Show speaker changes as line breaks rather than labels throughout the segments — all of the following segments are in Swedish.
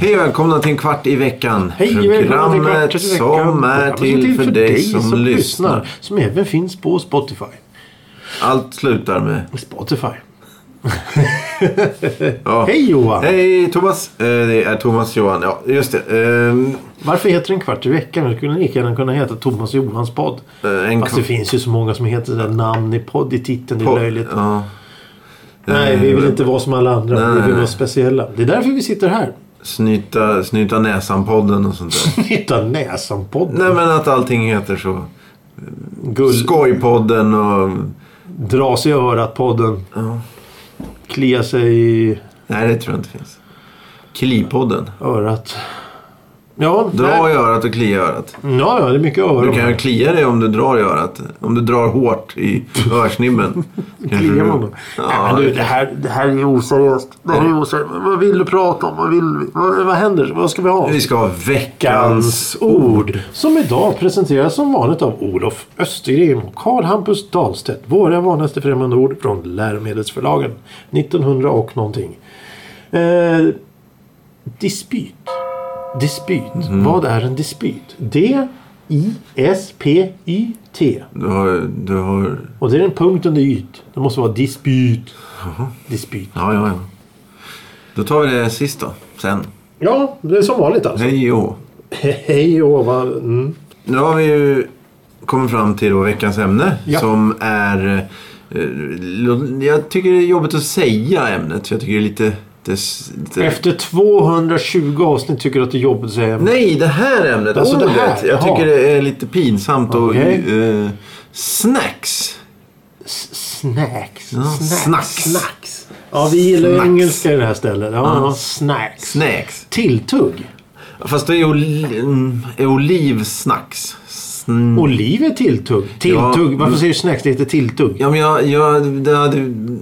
Hej och välkomna till en kvart i veckan.
Hej och välkomna till Kvart i
Programmet
veckan. Alltså,
som är
Programmet som
till för dig som lyssnar.
Som även finns på Spotify.
Allt slutar med...
Spotify.
Ja.
Hej Johan!
Hej Thomas! Eh, Det är Thomas Johan. Ja, just det. Ehm,
Varför heter den Kvart i veckan? Det skulle lika gärna kunna heta Thomas och Johans podd.
eh, En
Fast det
kvart...
finns ju så många som heter sådär namn i podd i titeln. Det är löjligt.
Ja. Eh,
Nej, vi vill inte vara som alla andra.
Nej,
vi vill
nej.
vara speciella. Det är därför vi sitter här.
Snyta, snyta näsan-podden och sånt där.
Hitta näsan-podden.
Nej men att allting heter så.
Gull.
Skojpodden och...
Dra sig i örat-podden.
Ja.
Klia sig i
Nej det tror jag inte finns. Klipodden.
örat. Ja,
Dra
nej.
i örat och klia i örat.
ja, ja, det är mycket öron.
Du kan ju klia dig om du drar i örat. Om du drar hårt i örsnibben. Kanske
Kliar
du-
man då? Nej,
Ja,
men du, det, här, det här är oseriöst. Det här är oseriöst. Vad vill du prata om? Vad, vill vi? vad, vad händer? Vad ska vi ha?
Vi ska ha veckans
Veckans ord. Som idag presenteras som vanligt av Olof Östergren och Carl Hampus Dahlstedt. Våra vanligaste främmande ord från läromedelsförlagen. 1900 och någonting. Eh, dispyt. Dispyt. Vad är en dispyt? D-I-S-P-Y-T.
Du har, du har...
Och det är en punkt under yt. Det måste vara dispyt. Dispyt.
Ja, ja, ja. Då tar vi det sist då. Sen.
Ja, det är som vanligt alltså.
Hej och hå.
Hej och vad... Mm.
Nu har vi ju kommit fram till då veckans ämne
Ja.
som är... eh, lo- Jag tycker det är jobbigt att säga ämnet. Jag tycker det är lite... Det, s- lite
Efter 220 avsnitt tycker du att det är jobbigt att säga
nej, det här ämnet!
Alltså det
ordet!
här,
jag
jaha.
tycker det är lite pinsamt och...
Okej.
eh, snacks!
S- snacks.
Ja,
snacks.
snacks.
Snacks. Ja, vi gillar ju
Snacks.
engelska i det här stället. Ja,
Ja.
ja. Snacks.
Snacks.
Tilltugg.
Fast det är oli- mm, är olivsnacks. Sn-
Oliv är tilltugg. Tilltugg. Varför säger du snacks? Det heter tilltugg.
Ja, men jag, jag, det hade, ju-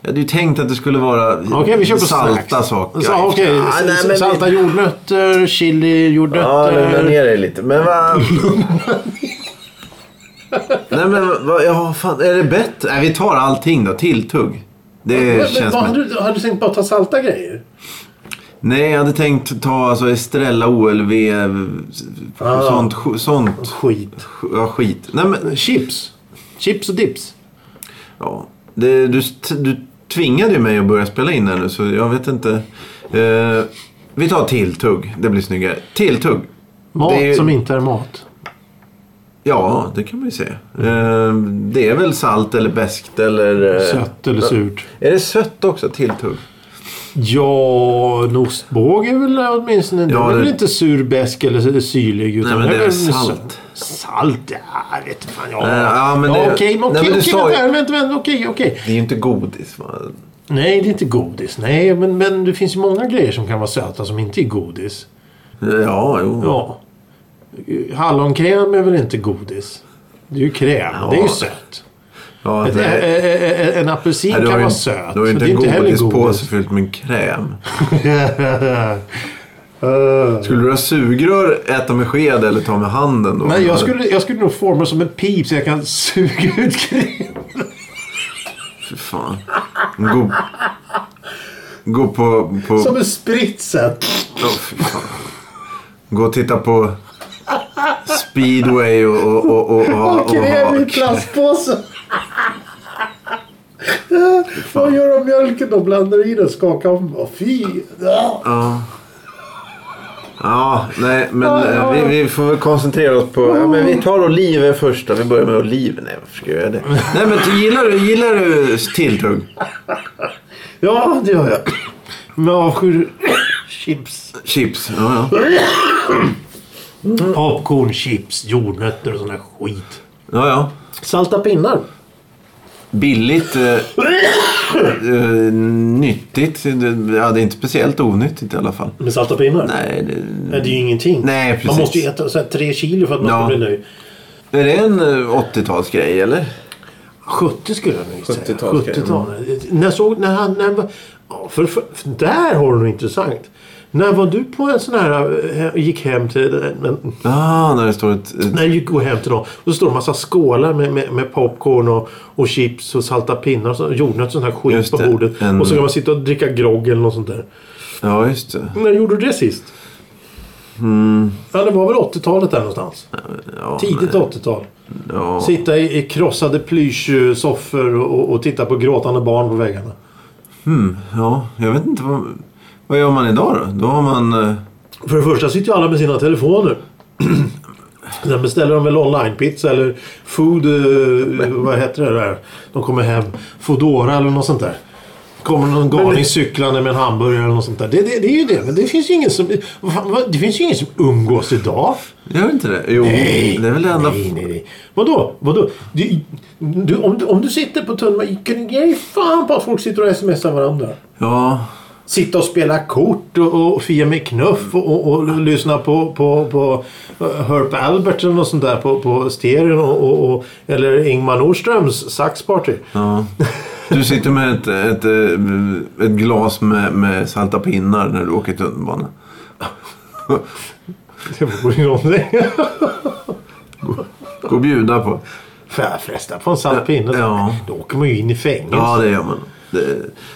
jag hade ju tänkt att det skulle vara
Okej, vi kör på
salta
snacks.
saker.
Ja, Okej,
Ja, nej, men-
salta jordnötter, chili,
Ja, lugna
jordnötter.
ner dig lite. Men vad... Nej men vad, ja fan, är det bättre? Nej vi tar allting då, tilltugg. Det känns som... ett-
du, du tänkt bara ta salta grejer?
Nej jag hade tänkt ta alltså Estrella OLV,
Ah.
eh, sånt, sk- sånt,
Skit.
ja skit. Nej men,
Chips. Chips och dips.
ja. Det, du, du tvingade ju mig att börja spela in här nu så jag vet inte. Eh, vi tar tilltugg, det blir snyggare. Tilltugg.
Mat
Det är ju-
som inte är mat.
Ja, det kan man ju säga. Eh, Det är väl salt eller beskt eller... eh,
Sött eller surt.
Är det sött också? Tilltugg?
Ja, en ostbåge är väl åtminstone... Ja,
Ja,
det är väl
det-
inte sur, besk eller syrlig. Utan
Nej, men det är
väl
salt.
sött. Salt? Ja, jag vet inte fan. Ja,
Nej, Eh, ja, men det-
okej,
Nej, men
okej,
du
okej.
sa ju-
Vänta, vänta, vänta. Okej, okej.
Det är ju inte godis. Va?
Nej, det är inte godis. Nej, men, men det finns ju många grejer som kan vara söta som inte är godis.
Eh, Ja, jo.
Ja. Hallonkräm är väl inte godis? Det är ju kräm. Det är ju sött.
Ja,
Ett,
det-
ä- ä- ä- ä- eh, en apelsin
Nej, du har
kan
ju
vara
inte-
söt.
Du har ju
men
inte
det är
en
heller
godispåse fylld med kräm.
Eh,
Skulle du ha sugrör, äta med sked eller ta med handen då?
Nej, jag skulle, jag skulle nog forma som en pip så jag kan suga ut kräm.
Fy fan. Gå, gå på... på...
Som en spritsen.
Åh, fy fan. Gå och titta på speedway och... och, och, och, och,
Och kräm i
och-
plastpåsen. Vad gör de mjölken då? Blandar i den, skakar om. Åh, Fy! Ah.
Ja. Ja, nej men
Ja,
eh,
ja, ja.
Vi, vi får väl koncentrera oss på... Ja, men vi tar oliver först då. Vi börjar med oliver. Nej, varför ska jag göra det? Nej, men du- gillar du, gillar du tilltugg?
Ja, det gör jag. Men avskyr chips.
Chips? Ja, ja.
Mm. Popcorn, chips, jordnötter och sån där skit.
ja, ja.
Salta pinnar.
Billigt. Eh, eh, nyttigt. Det- Ja, det är inte speciellt onyttigt i alla fall.
Med salta pinnar?
Nej, det,
Nej, det är ju ingenting.
Nej, precis.
Man måste ju äta så här, tre kilo för att man
Ja.
ska bli nöjd.
är det en eh, 80-talsgrej eller?
70 skulle jag nog säga.
70-tal, okej.
70-tal. När, jag såg, när, han, när, Ja, för, för, för där har du något intressant. När var du på en sån här... eh, Gick hem till... en-
Ah, när det står ett... ett
När du går hem till någon. Då står det en massa skålar med, med, med popcorn och, och chips och salta pinnar och så- jordnötter och sån här skit
Just
på
det,
bordet.
en-
Och så kan man sitta och dricka grogg eller något sånt där.
ja, just det.
När gjorde du det sist? Ja, det var väl 80-talet där någonstans.
Mm. Ja,
Tidigt 80-tal.
ja.
Sitta i, i krossade plyschsoffor och, och, och titta på gråtande barn på väggarna.
ja, jag vet inte vad... Vad gör man idag då? Då har man... eh,
För det första sitter ju alla med sina telefoner. Sen beställer de väl online-pizza eller food... eh, vad heter det där? De kommer hem. Foodora eller något sånt där. Kommer någon galning cyklande med en hamburgare eller något sånt där. Det, det, det är ju det. Men det finns ju ingen som... vad fan, vad- Det finns ju ingen som umgås idag.
Gör inte det? Jo, det är väl det enda...
Nej, nej, nej. Vadå? Vadå? Du, du, om, du, om du sitter på tunnelbanan... kan- Ge fan på att folk sitter och smsar varandra.
Ja,
Sitta och spela kort och, och fia med knuff och, och, och lyssna på, på, på eh, Herb Albert eller något sånt där på, på stereon och, och, och, eller Ingmar Nordströms saxparty.
ja. Du sitter med ett, ett, eh, ett glas med, med salta pinnar när du åker tunnelbana.
Det vore ju någonting.
Gå och bjuda på.
Får jag fresta på en salt pinne?
Ja.
Då åker man ju in i fängelse.
Ja, det gör man. Det...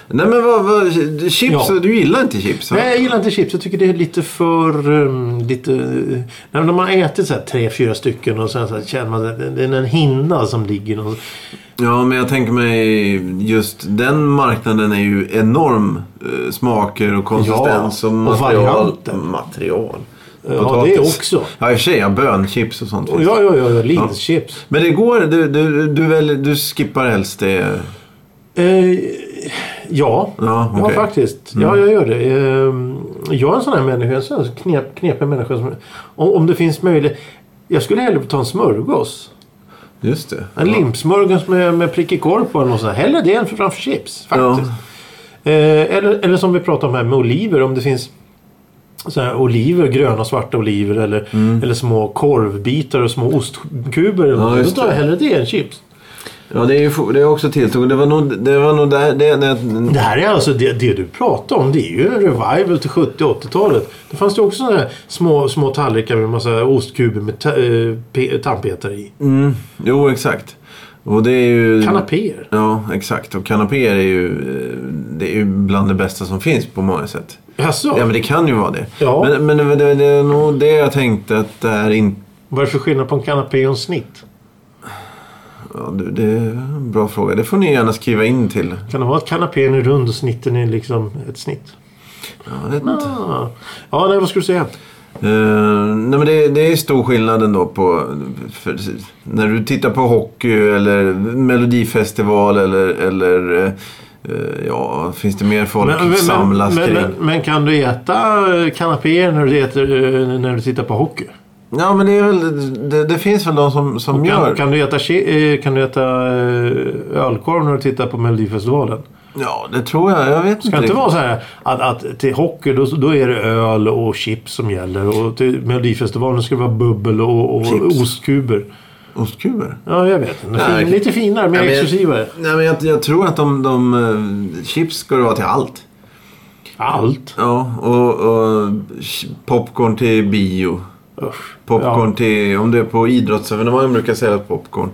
Nej, men vad... vad chips?
Ja.
Du gillar inte chips? va?
Nej, jag gillar inte chips. Jag tycker det är lite för... Um, lite, nej, men när man har ätit så här tre, fyra stycken och sen så här, känner man att det det är en hinna som ligger någon,
Ja, men jag tänker mig just den marknaden är ju enorm. eh, Smaker och konsistens
Ja,
och
och
material. Mm.
varianter.
material.
Ja, det också.
Ja, i och för sig. Ja, bönchips och sånt. finns.
Ja, ja, ja. ja Linschips.
Men det går. Du, du, du, väljer, du skippar helst det.
Eh, ja,
Ja,
ja
okej.
faktiskt. Ja, jag gör det. Eh, jag är en sån här människa. En sån här knep, knepig människa. Som, om, om det finns möjlighet. Jag skulle hellre ta en smörgås.
Just det.
En limpsmörgås med, med prickig korv på. Eller något sånt. Hellre det än framför chips. Faktiskt. Eh, eller, eller som vi pratade om här med oliver. Om det finns så här oliver, gröna och svarta oliver. Eller,
Mm.
eller små korvbitar och små ostkuber. Eller något. Då
just
tar jag
det.
hellre det än chips.
Ja, det är ju fo- det är också tilltugg. Det var nog, det var nog där... Det, när
Det här är alltså det, det du pratar om. Det är ju en revival till 70 och 80-talet. Det fanns det också såna här små, små tallrikar med massa ostkuber med ta, eh, pe- tandpetare i.
mm, jo, exakt. Och det är ju...
Kanapéer.
Ja, exakt. Och kanapéer är ju, eh, det är ju bland det bästa som finns på många sätt.
Jaså?
Ja, men det kan ju vara det.
Ja.
Men, men det, det, det är nog det jag tänkte att det här inte...
Vad är det för skillnad på en kanapé och en snitt?
Ja, du, det är en bra fråga. Det får ni gärna skriva in till.
Kan det vara att kanapén är rund och snitten är liksom ett snitt?
Ja, jag vet inte.
Ah. Ja, nej, vad skulle du säga?
Eh, nej, men det, det är stor skillnad ändå på... För, när du tittar på hockey eller melodifestival eller... eller eh, eh, ja, finns det mer folk samlas
men,
kring?
men, men kan du äta eh, kanapéer när du, äter, eh, när du tittar på hockey?
ja, men det, är väl, det, det finns väl de som, som gör...
Kan, kan, du äta, ke- eh, kan du äta eh, ölkorv när du tittar på Melodifestivalen?
Ja, det tror jag. Jag vet
Det
inte.
kan inte
riktigt.
vara så här att, att till hockey då, då är det öl och chips som gäller och till Melodifestivalen ska det vara bubbel och, och
Chips.
ostkuber.
Ostkuber?
Ja, jag vet. inte.
Nej.
Fin, lite finare, mer
Ja, men-
exklusivare.
Nej, men jag, jag tror att de, de... eh, Chips ska det vara till allt.
Allt.
Ja, och, och ch- popcorn till bio.
Usch.
Popcorn
Ja.
till... Om det är på idrottsevenemang brukar jag säga popcorn.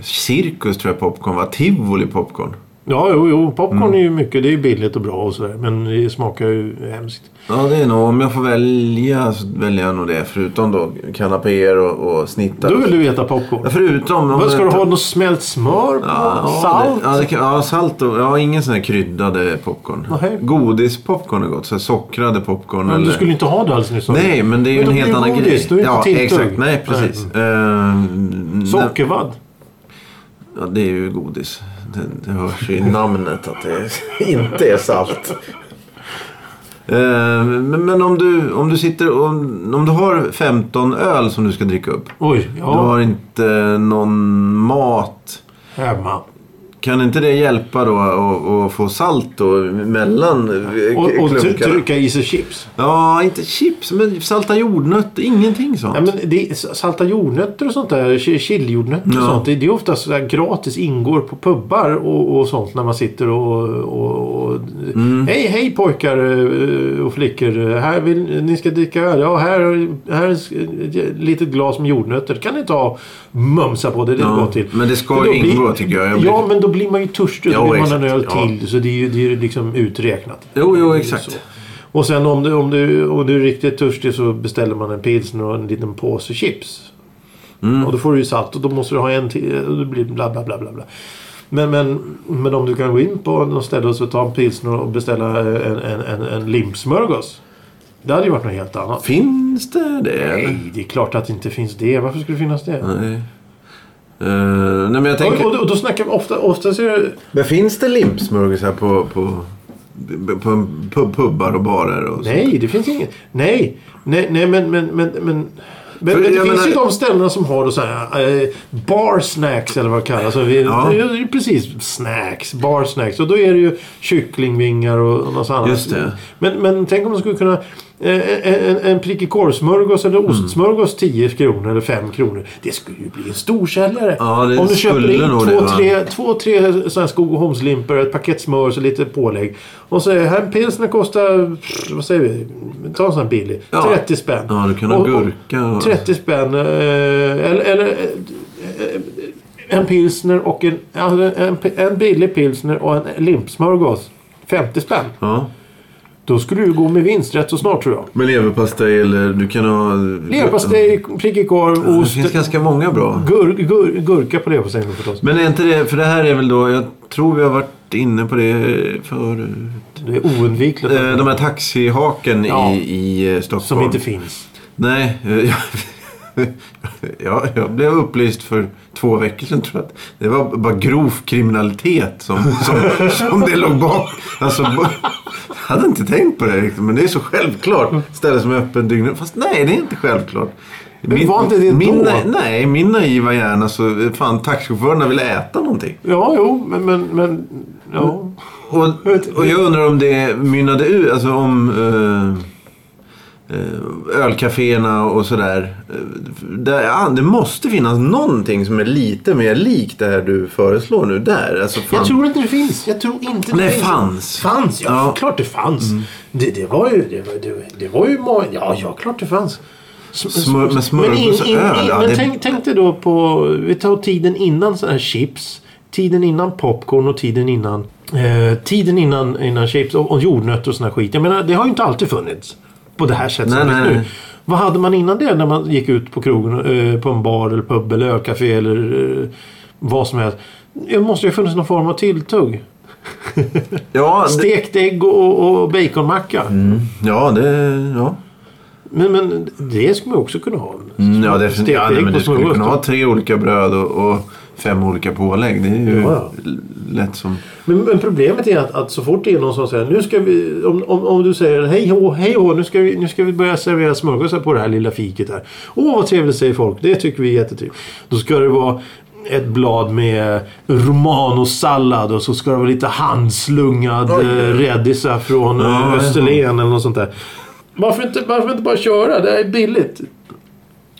Cirkus tror jag popcorn var. Tivoli popcorn.
Ja, jo, jo. Popcorn
Mm.
är ju mycket. Det är ju billigt och bra och sådär. Men det smakar ju hemskt.
Ja, det är nog... Om jag får välja så väljer jag nog det. Förutom då kanapéer och, och snittar.
Då vill du äta
Ja,
popcorn.
Förutom... om
Vad ska
jag
du
tar-
ha? Något smält smör på?
Ja,
Salt?
Det, ja, det, kan- ja, salt och... Ja, ingen sån här kryddade popcorn.
Nej.
Godispopcorn är gott. Så här sockrade popcorn.
Men
eller...
du skulle inte ha det alls nu sa du.
Nej, men det är ju
Men då
en
blir
helt
det
annan
godis, då är
grej.
det
Ja,
inte tilltugg.
exakt. Nej, precis.
Nej.
Ehm, nej,
Sockervadd.
ja, det är ju godis. Det, det hörs ju i namnet att det är- inte är salt. Ehm, men men om, du, om du sitter och, om du har 15 öl som du ska dricka upp.
Oj,
Du
ja.
har inte någon mat.
Hemma.
Kan inte det hjälpa då att- att få salt då mellan eh,
Och, och try-
klunkarna?
trycka i sig chips.
Ja, inte chips, men salta jordnötter. Ingenting sånt.
Nej, men det, är salta jordnötter och sånt där, chi- chilijordnötter och
Ja.
sånt. Det, det är oftast sådär gratis ingår på pubbar och, och sånt när man sitter och... och, och
Mm.
Hej hej pojkar eh, och flickor. Här vill, ni ska dricka öl. Ja, här, här är ett litet glas med jordnötter. Kan ni ta och mumsa på det? Det är
Ja,
gott till.
men det ska
För
ju
då blir-
ingå, tycker jag. Jag blir-
Ja, men då blir man ju törstig och
Ja,
då vill man en
exakt.
öl
Ja.
till. Så det är ju det är ju liksom uträknat.
Jo, jo,
Det är ju
exakt.
så. Och sen om du, om, du, om du är riktigt törstig så beställer man en pilsner och en liten påse chips. Och då får du ju salt och då måste du ha en till. Och det blir bla bla bla bla. bla. Men, men, men om du kan gå in på något ställe och så ta en pilsner och beställa en, en, en, en limpsmörgås. Det hade ju varit något helt annat.
Finns det det? eller?
Nej, det är klart att det inte finns det. Varför skulle det finnas det?
Nej. Eh, nej, men jag tänker...
Och, och, då- och då snackar vi ofta, oftast är det
Men finns det limpsmörgås här på, på, på pub, pubbar och barer? Och så?
Nej, det finns inget. Nej, nej, nej men... men, men, men men,
För
men det
jag
finns ju
menar-
de ställena som har då så här, eh, bar snacks eller vad det kallas. Alltså, vi,
Ja.
det är ju precis snacks, bar snacks. Och då är det ju kycklingvingar och, och något annat.
Just det.
Men, men tänk om man skulle kunna... Eh, en, en- en prickig korvsmörgås eller
Mm.
ostsmörgås 10 kronor eller 5 kronor. Det skulle ju bli en storsäljare.
Ja, det
om du
skulle
köper in
nog det,
två,
va?
tre två, tre sådana här skog och Holmslimpor, ett paket smör och så lite pålägg. Och så är här en pilsner kostar, pff, vad säger vi, ta en sån här billig.
Ja.
30 spänn.
Ja, du kan ha
Och- och
gurka och-
30 spänn. eh, Eller, eller eh, en pilsner och en, alltså en, en billig pilsner och en limpsmörgås. 50 spänn.
Ja.
Då skulle du gå med vinst rätt så snart tror jag.
Med leverpastej eller du kan ha...
Leverpastej, prickig korv,
Det
ost,
finns ganska många bra.
gur, gur, gurka på leverpastejen förstås.
Men är inte det... För det här är väl då... Jag tror vi har varit inne på det förut.
Det är oundvikligt.
Eh, De här taxihaken
Ja.
i, i eh, Stockholm.
som inte finns.
Nej. eh, Jag, jag blev upplyst för två veckor sedan tror jag att det var bara grov kriminalitet som, som, som det låg bak. Alltså, ba- jag hade inte tänkt på det riktigt, men det är så självklart. Ställe som är öppen dygnet Fast nej, det är inte självklart.
var inte det
min,
då?
Nej, min naiva hjärna så eh, fan taxichaufförerna vill äta någonting.
Ja, jo, men... men, men
Mm.
ja.
Och, och jag undrar om det mynnade ut, alltså om eh, eh, ölcaféerna och sådär. eh, Där, ja, det måste finnas någonting som är lite mer likt det här du föreslår nu där. Alltså, fan.
Jag tror inte det finns. Jag tror inte det
Nej,
finns.
fanns.
Fanns, ja.
Ja. Mm.
Klart det fanns. Det, det var ju... Det var, det, det var ju ma- ja, ja, klart det fanns. Sm-
Smör- men smörgås och öl, ja,
men
det-
tänk, tänk dig då på... Vi tar tiden innan sådana här chips. Tiden innan popcorn och tiden innan... Eh, tiden innan, innan chips och, och jordnötter och sån här skit. Jag menar, det har ju inte alltid funnits. På det här sättet
Nej,
som det är
nej,
nu.
nej.
Vad hade man innan det när man gick ut på krogen, eh, på en bar eller pub eller ölcafé eller eh, vad som helst? Det måste ju ha funnits någon form av tilltugg.
ja, Alltså, det, Mm.
Stekt ägg och, och baconmacka.
ja, det... Ja.
Men, men det skulle man också kunna ha.
Mm, ja, definitivt.
Stekt
Ja, nej,
ägg
men
på
du skulle
smörgås.
kunna
då.
ha tre olika bröd och, och fem olika pålägg. Det är ju
Ja,
lätt som...
Men, men problemet är att, att så fort det är någon som säger nu ska vi, om, om, om du säger hej hå, hej hå, nu ska vi, nu ska vi börja servera smörgåsar på det här lilla fiket här. Åh vad trevligt säger folk, det tycker vi är jättetrevligt. Då ska det vara ett blad med romanosallad och så ska det vara lite handslungad
Oj.
eh, rädisa från
Ja,
ja,
ja.
Österlen eller något sånt där. Varför inte, varför inte bara köra? Det här är billigt.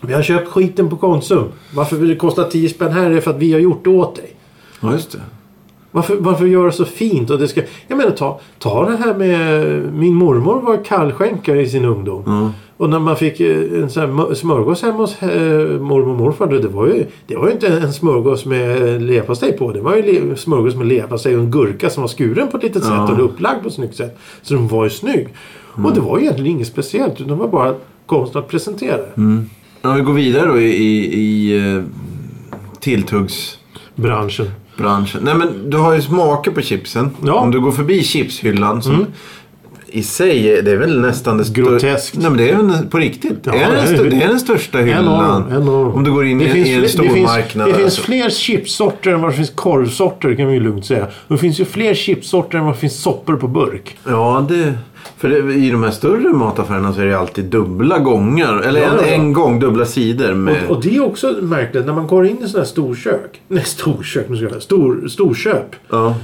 Vi har köpt skiten på Konsum. Varför vill det kosta 10 spänn här? Det är för att vi har gjort det åt dig.
Ja, just det.
Varför, varför göra så fint? Och det ska, jag menar ta, ta det här med... Min mormor var kallskänkare i sin ungdom. Och när man fick eh, en sån här mö- smörgås hemma hos eh, mormor och morfar. Det var ju, det var ju inte en smörgås med eh, leverpastej på. Det var ju le, smörgås med leverpastej och en gurka som var skuren på ett litet sätt. Och upplagd på ett snyggt sätt. Så den var ju snygg. Och det var ju egentligen inget speciellt. Utan det var bara konsten att presentera det.
Om vi går vidare då i, i, i eh, tilltuggs...
branschen.
branschen. Nej men du har ju smaker på chipsen.
Ja. Mm.
Om du går förbi chipshyllan. Som i sig, det är väl nästan det stör-
Groteskt.
Nej men det är väl på riktigt.
Ja,
det, är den
det är-
stö- det är den största
En av
hyllan.
dem, en av dem.
Om du går in i,
Det
i
fler-
en
det finns,
stormarknad.
Det finns
alltså.
fler chipsorter än vad det finns korvsorter kan vi ju lugnt säga. Det finns ju fler chipsorter än vad det finns soppor på burk.
Ja, det, för det, i de här större mataffärerna så är det alltid dubbla gånger. Eller
Ja,
en,
ja, ja.
en gång, dubbla sidor med...
Och, och det är också märkligt när man går in i sådana här storkök. Nej, storkök. Nu ska jag säga. Stor, storköp.
ja.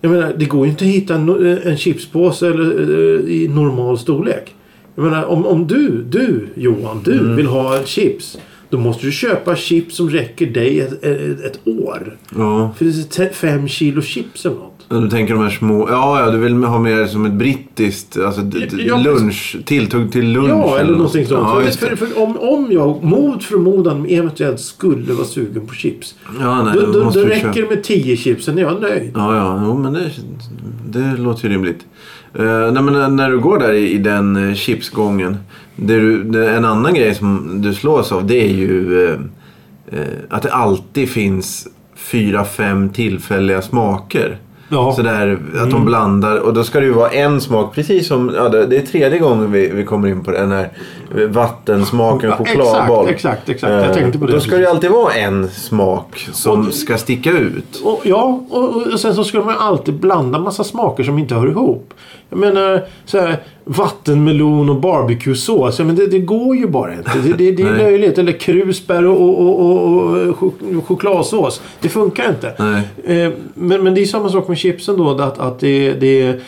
Jag menar, det går ju inte att hitta en, no- en chipspåse eller, eh, i normal storlek. Jag menar, om, om du, du Johan, du
Mm.
vill ha chips. Då måste du köpa chips som räcker dig ett, ett, ett år.
ja.
För det är te- fem kilo chips eller något.
Du tänker de här små... Ja, ja, du vill ha mer som ett brittiskt... Alltså d- d-
Ja,
lunch. Tilltugg till lunch.
Ja, eller
något.
någonting sånt.
Mm. Ja,
För-
just
för,
det.
för om, om jag mot förmodan eventuellt skulle vara sugen på chips.
Ja, nej,
då
då
då, då
måste du
räcker det med 10 chips, sen är jag nöjd.
Ja, ja, jo, men det, det låter ju rimligt. Eh, nej, men när- när du går där i, i den eh, chipsgången. Det du, det, en annan grej som du slås av det är ju eh, eh, att det alltid finns fyra, fem tillfälliga smaker.
Ja. Mm.
Sådär att de blandar och då ska det ju vara en smak precis som, ja, det, det är tredje gången vi, vi kommer in på den här eh, vattensmaken
Ja,
chokladboll.
exakt, exakt, exakt. Jag
Eh,
tänkte på det
Då ska det ju alltid vara en smak som ska sticka ut.
Och, ja, och, och sen så skulle man ju alltid blanda massa smaker som inte hör ihop. Jag menar, så här, vattenmelon och barbecuesås. Ja, men det, det går ju bara inte. Det, det, det är
Nej.
löjligt. Eller krusbär och, och, och, och, och chok- chokladsås. Det funkar inte.
Nej.
Eh, Men, men det är samma sak med chipsen då. Att, att det, det är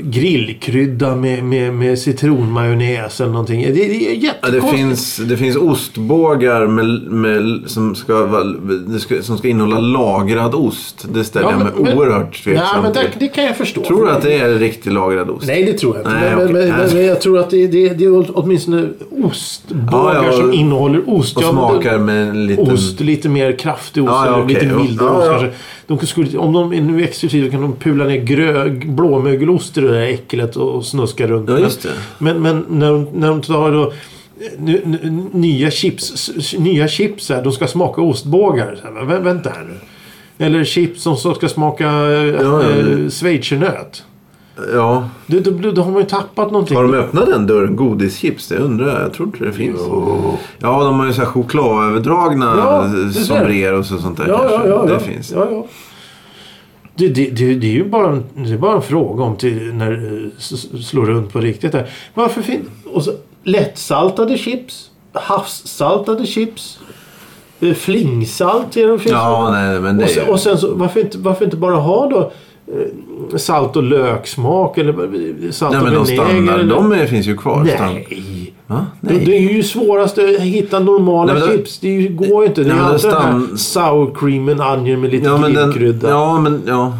grillkrydda med, med, med citronmajonnäs eller någonting. Det, det är
Ja, det,
jättekonstigt.
finns, det finns ostbågar med, med, som, ska, vara- det ska, som ska innehålla lagrad ost. Det ställer
Ja,
jag mig oerhört
Nej, men
tveksam
det,
till.
det kan jag förstå.
Tror du att det är riktig lagrad ost?
Nej, det tror jag inte.
Nej,
men,
okej.
men, men,
Nej.
men jag tror att det, det, det är åtminstone ostbågar
Ja, ja,
som innehåller ost.
Och
Ja, men
smakar med en liten...
Ost, lite mer kraftig ost
Ja, ja,
eller
okej.
lite mildare
Ja,
ost
ja.
kanske. De skulle, om de är nu exklusiva kan de pula ner grö, blåmögelost i det där äcklet och, och snuska runt.
Ja,
Men-
just det.
Men, men när, de, när de tar då nu, nu, nya chips, s- s- nya chips här, de ska smaka ostbågar. Så här, men vä- vänta här nu. Eller chips som så ska smaka
ja,
eh, schweizernöt.
Ja.
Då, då, då, då har man ju tappat någonting.
Har de öppnat den dörren? Godischips? Det undrar jag. Jag tror inte det finns. Ja, de har ju så här chokladöverdragna
Ja, det ser jag.
sombreros och sånt där.
Ja, ja,
kanske.
ja.
Det
ja.
finns.
Ja, ja. Det, det, det, det är ju bara en, det är bara en fråga om till, när eh, s- s- slår runt på riktigt här. Varför finns... Och så, lättsaltade chips. Havssaltade chips. eh, Flingsalt är de finns.
Ja, nej, men det
och,
är
sen,
ju...
och sen så, varför inte, varför inte bara ha då eh, salt och löksmak eller eh, salt
Nej,
och
men de
vinäger?
standard,
eller-
de är, finns ju kvar. Standard.
Nej!
Va?
Det,
Nej.
det är ju svårast att hitta normala
Nej, men det-
chips. Det är ju- går ju inte. Det är
Nej,
ju
men
alltid
den
den här sour cream and onion med lite
Ja, men den,
grillkrydda.
ja, men ja.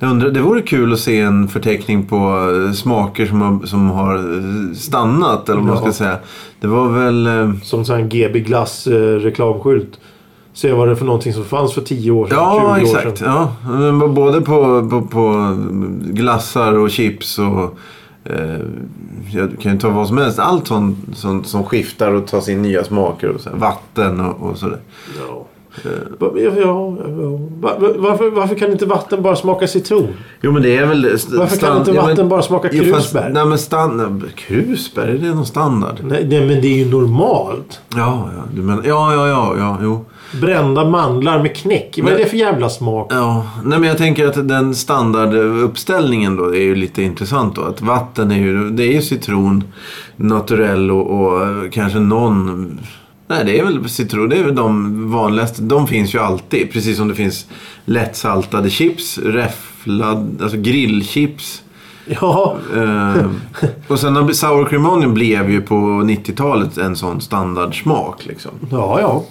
Jag undrar, det vore kul att se en förteckning på eh, smaker som har, som har eh, stannat, eller vad man
Ja.
ska säga. Det var väl... eh,
Som sån här GB Glass eh, reklamskylt. Se vad det är för någonting som fanns för 10 år sedan,
Ja,
20 år
exakt.
sedan.
Ja, men b- både på, på, på glassar och chips och... Eh, jag kan ju ta vad som helst. Allt sånt som, som skiftar och tar sin nya smaker. Och så här, vatten och, och sådär.
Ja. Va- Ja, ja, ja. Va- va- Varför, varför kan inte vatten bara smaka citron?
Jo, men det är väl... st-
Varför kan inte
ja, men-
vatten bara smaka
Jo, fast-
krusbär?
Nej, men standard... Krusbär, är det någon standard?
Nej, nej, men det är ju normalt.
Ja, ja, du menar, ja, ja, ja, ja, jo.
Brända mandlar med knäck. Vad är
Men-
det för jävla smak?
Ja, nej men jag tänker att den standarduppställningen då är ju lite intressant då. Att vatten är ju, det är ju citron, naturell och, och kanske någon... Nej, det är väl citron, det är väl de vanligaste. De finns ju alltid. Precis som det finns lättsaltade chips, räfflad, alltså grillchips.
Ja,
Eh, och sen har- sour cream onion blev ju på 90-talet en sån standardsmak liksom.
ja, ja.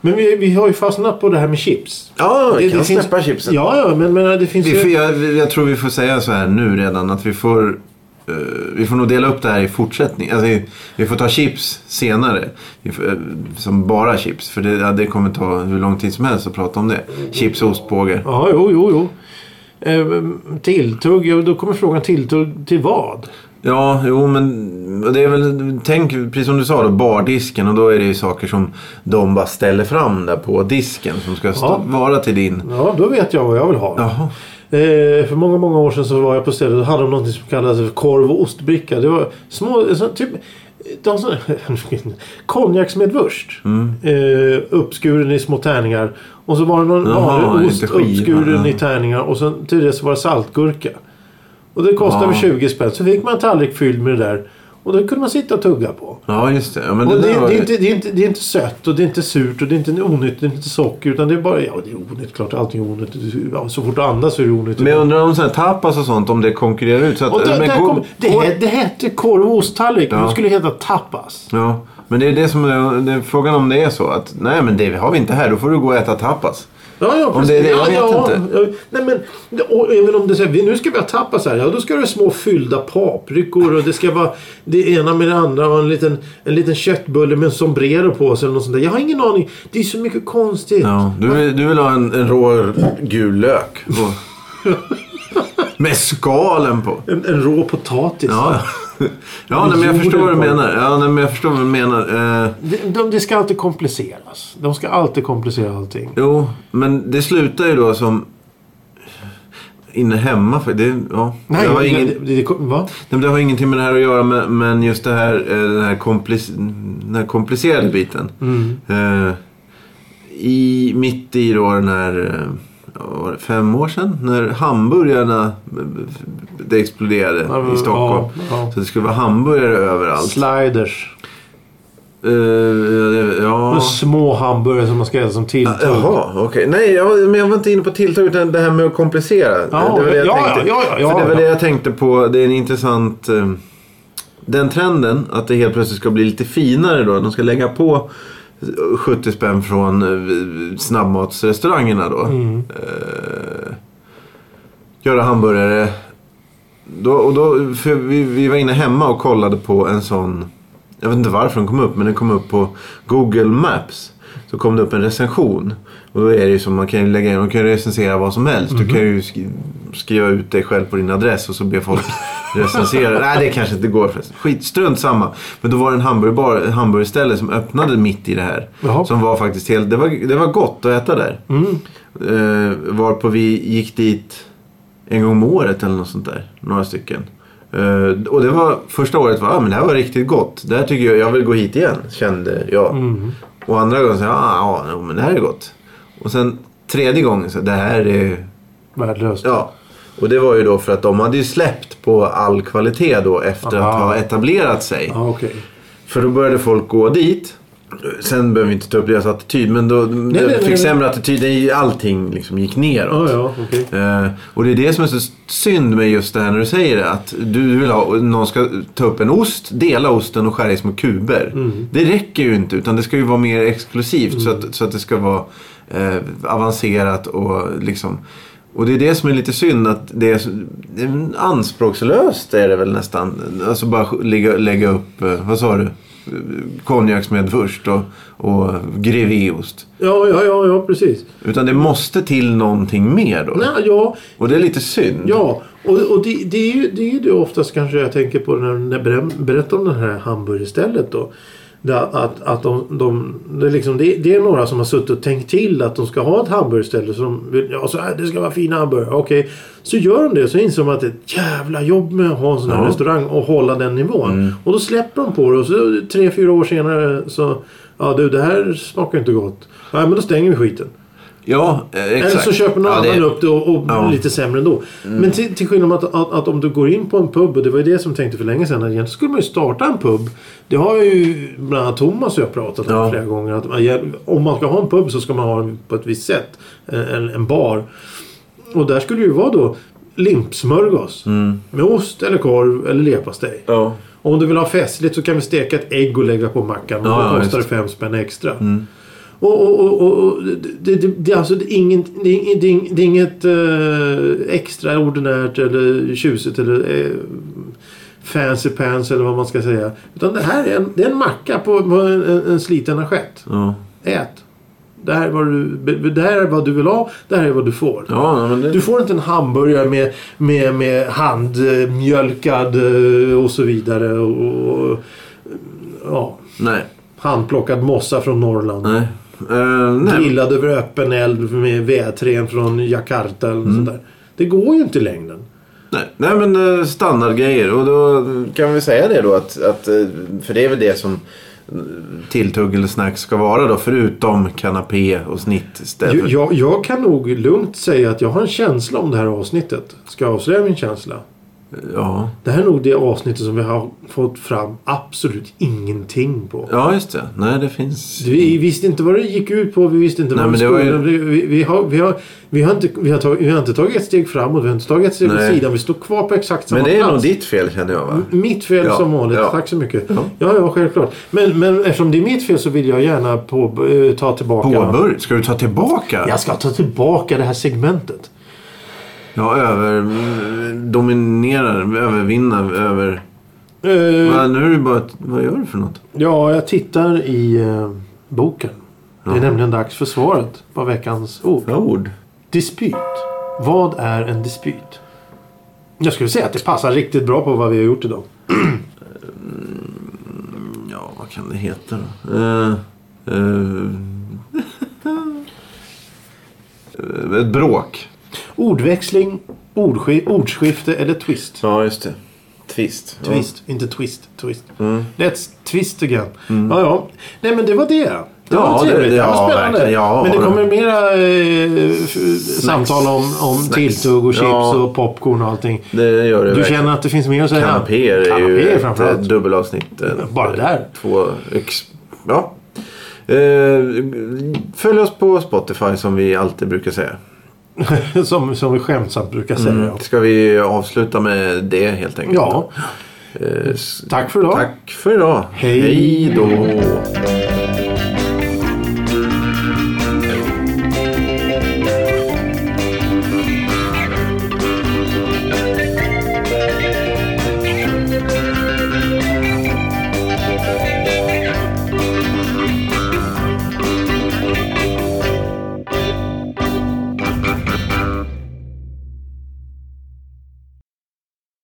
Men vi, vi har ju fastnat på det här med chips.
Ja,
Det- det finns- Ja, ja, men, men det finns
Vi
ju...
får, jag, jag tror vi får säga så här nu redan att vi får eh, vi får nog dela upp det här i fortsättning. Alltså, vi- vi får ta chips senare. Vi får, eh, som bara chips. För det, ja, det kommer ta hur lång tid som helst att prata om det. Chips och ostbågar.
Ja, jo, jo, jo. Ehm, Tilltugg, ja, då kommer frågan tilltugg till vad?
Ja, jo men det är väl, tänk precis som du sa då, bardisken. Och då är det ju saker som de bara ställer fram där på disken. Som ska stå,
Ja.
vara till din.
Ja, då vet jag vad jag vill ha.
Jaha.
Eh, för många, många år sedan så var jag på stället och hade de något som kallades för korv och ostbricka. Det var små, så, typ de som, konjaksmedvurst.
Mm.
Eh, uppskuren i små tärningar. Och så var det någon
Jaha,
vanlig ost
inte skivan,
uppskuren
ja.
i tärningar. Och sen till det så var det saltgurka. Och det kostade
Ja.
20 spänn. Så fick man en tallrik fylld med det där. Och då kunde man sitta och tugga på.
Ja, just det. Ja, men
Och
det,
det,
där var
det, är
ju-
inte, det, är inte, det är inte sött och det är inte surt och det är inte onyttigt, det är inte socker utan det är bara, ja det är onyttigt, klart allting är onyttigt. Ja, Så fort du andas så är det onyttigt.
Men jag undrar om sådana här tapas och sånt, om det konkurrerar ut. Så att,
och där,
men
där
gå-
kom, det,
gå-
he- det hette korv och osttallrik, men det skulle heta tapas.
Ja, men det är det som är, det är frågan om det är så att nej men det har vi inte här, då får du gå och äta tapas.
Ja, ja,
Om
precis.
det är det, jag
ja,
vet
ja,
inte.
ja. Nej, men, och även om det säger vi nu ska vi ha tapas här. Ja, då ska det vara små fyllda paprikor och det ska vara det ena med det andra och en liten, en liten köttbulle med en sombrero på sig eller något sånt där. Jag har ingen aning. Det är så mycket konstigt.
Ja, du, vill- du vill ha en, en rå gul lök. och- med skalen på.
En, en rå potatis.
Ja, ja nej, men jag förstår vad du menar. Ja, nej, men jag förstår vad du menar. Eh,
Det de, det ska alltid kompliceras. De ska alltid komplicera allting.
jo, men det slutar ju då som... Inne hemma. För det, ja.
Nej,
jag har
det,
ingen,
det, det, va?
Nej, men det har ingenting med det här att göra men, men just det här, eh, den, här komplic, den här komplicerade biten.
Mm.
Eh, i, mitt i då den här, eh, ja, vad var det, fem år sedan, när hamburgarna eh, det exploderade
Ja,
i Stockholm.
ja, ja.
Så det skulle vara hamburgare överallt.
Sliders.
Eh, ja.
Och Små hamburgare som man ska äta som tilltugg.
Ah, Jaha, okej. Nej, jag, men jag var inte inne på tilltag utan det här med att komplicera.
Ja,
det var det jag
ja,
tänkte.
ja, ja, ja,
För det var
ja.
det jag tänkte på. Det är en intressant... eh, Den trenden att det helt plötsligt ska bli lite finare då. De ska lägga på 70 spänn från eh, snabbmatsrestaurangerna då.
Mm.
Eh, göra hamburgare. Då, och då, för vi, vi var inne hemma och kollade på en sån... Jag vet inte varför den kom upp, men den kom upp på Google Maps. Så kom det upp en recension. Och då är det ju som man kan ju lägga in, man kan ju recensera vad som helst. Du kan ju skri- skriva ut dig själv på din adress och så be folk recensera. Nej, det kanske inte går förresten. Skit, strunt samma. Men då var det en hamburgerbar, en hamburgerställe som öppnade mitt i det här.
Jaha.
Som var faktiskt helt, det var, det var gott att äta där.
Mm.
Eh, varpå vi gick dit en gång om året eller något sånt där. Några stycken. Eh, och det var första året var ah, men det här var riktigt gott. Det här tycker jag, jag vill gå hit igen. Kände jag.
Mm.
Och andra gången så ah, ja, jo, men det här är gott. Och sen tredje gången så det här är
Värdelöst.
Ja. Och det var ju då för att de hade ju släppt på all kvalitet då efter att
Aha.
ha etablerat sig.
Ja, okej.
För då började folk gå dit. Sen behöver vi inte ta upp deras attityd men då de
nej,
fick
nej.
sämre attityd. Det är ju- Allting liksom gick
Ja,
neråt.
ja, okej.
Eh, och det är det som är så synd med just det här när du säger det. Att du vill ha, någon ska ta upp en ost, dela osten och skära i små kuber. Det räcker ju inte utan det ska ju vara mer exklusivt så, att, så att det ska vara eh, avancerat och liksom. Och det är det som är lite synd att det är så, det är anspråkslöst är det väl nästan. Alltså bara lägga, lägga upp, eh, vad sa du? Konjaksmedvurst och, och grevéost.
Ja, ja, ja, ja, precis.
Utan det måste till någonting mer då.
Nej, ja,
Och det är lite synd.
ja. Och, och det, det är ju det, är ju det oftast kanske jag tänker på när när jag berättar om det här hamburgerstället då. Där att, att de, de, det, är liksom, det, det är några som har suttit och tänkt till att de ska ha ett hamburgerställe. Som vill, ja, så här, det ska vara fina hamburgare. Okej. Så gör de det så inser de att det är ett jävla jobb med att ha en sån här
Ja.
restaurang och hålla den nivån. Och då släpper de på det och så tre, fyra år senare så Ja du det här smakar inte gott. Nej men då stänger vi skiten.
Ja, eh, exakt.
Eller så köper någon
ja, det-
annan upp det och, och
Ja. Mm.
lite sämre ändå. Men till, till skillnad mot att, att, att om du går in på en pub, och det var ju det som jag tänkte för länge sedan, att egentligen skulle man ju starta en pub. Det har ju bland annat Thomas och jag pratat om
Ja.
flera gånger. Att man, gäll- om man ska ha en pub så ska man ha den på ett visst sätt. eh, En, en bar. Och där skulle det ju vara då limpsmörgås.
Mm.
Med ost eller korv eller leverpastej.
Ja.
Och Om du vill ha festligt så kan vi steka ett ägg och lägga på mackan. Och
Ja, ja, Mm.
då kostar det
just.
fem spänn extra. Och, och, och, och, och det, det, det, är alltså, det, är inget, det, är inget, det är inget- det är inget eh, extraordinärt eller tjusigt eller eh, fancy pants eller vad man ska säga. Utan det här är en, det är en macka på, på en, en, en sliten assiett.
Ja.
Ät! Det här, är vad du, det här är vad du vill ha. Det här är vad du får.
Ja, men det...
Du får inte en hamburgare med, med, med handmjölkad eh, och så vidare. Och, och, ja,
Nej.
handplockad mossa från Norrland.
Nej. Eh, nej.
Grillad över öppen eld med vedträn från Jakarta eller mm. sådär. Det går ju inte i längden.
Nej, nej men eh, standardgrejer. Och då kan vi säga det då att, att eh, för det är väl det som eh, tilltugg eller snack ska vara då. Förutom kanapé och snittställ.
Jag, jag, jag kan nog lugnt säga att jag har en känsla om det här avsnittet. Ska jag avslöja min känsla?
Ja.
Det här är nog det avsnittet som vi har fått fram absolut ingenting på.
ja, just det. Nej, det finns.
Vi visste inte vad det gick ut på. Vi visste inte
Mm. Nej,
vad
men det var ju-
skolan... Vi, vi, vi, har, vi, har, vi, har inte, vi, har tagit, vi har inte tagit ett steg framåt. Vi har inte tagit ett steg åt
Nej.
sidan. Vi står kvar på exakt samma
Men det är
plats. Mm.
nog ditt fel känner jag va?
Mitt fel
Ja,
som vanligt.
ja.
Tack så mycket. Ja, ja, självklart. Men, men eftersom det är mitt fel så vill jag gärna på, eh, ta tillbaka...
Påbörj. Ska du ta tillbaka?
Jag ska ta tillbaka det här segmentet.
Ja, över... Dominerar, övervinna, över...
Eh,
Va, nu är det bara... ett- Vad gör du för något?
Ja, jag tittar i eh, boken. Det är nämligen dags för svaret på veckans ord.
Bra ord.
Dispyt. Vad är en dispyt? Jag skulle säga att det passar riktigt bra på vad vi har gjort idag.
Ja, vad kan det heta då? Eh, eh, ett bråk.
Ordväxling, ordski- ordskifte eller twist.
Ja, just det. Twist.
Twist, inte twist. Twist.
Mm.
Let's twist again. Ja, ja. Nej, men det var det. Det
Ja,
var
det-
trevligt. Det,
det-
var
ja,
spännande.
verkligen. Ja,
men det
ja.
kommer mera eh, f- samtal om, om
Snacks.
tilltugg och chips
Ja.
och popcorn och allting.
Det gör det
Du
verkligen.
känner att det finns mer att säga?
Kanapéer är ju
Kanapéer framförallt.
ett dubbelavsnitt. eh,
Bara där.
Två ex... Ja. Eh, följ oss på Spotify som vi alltid brukar säga.
Som, som vi skämtsamt brukar säga. ja.
Ska vi avsluta med det helt enkelt?
Ja,
Eh, s-
tack för idag.
Tack för idag.
Hej.
Hej då.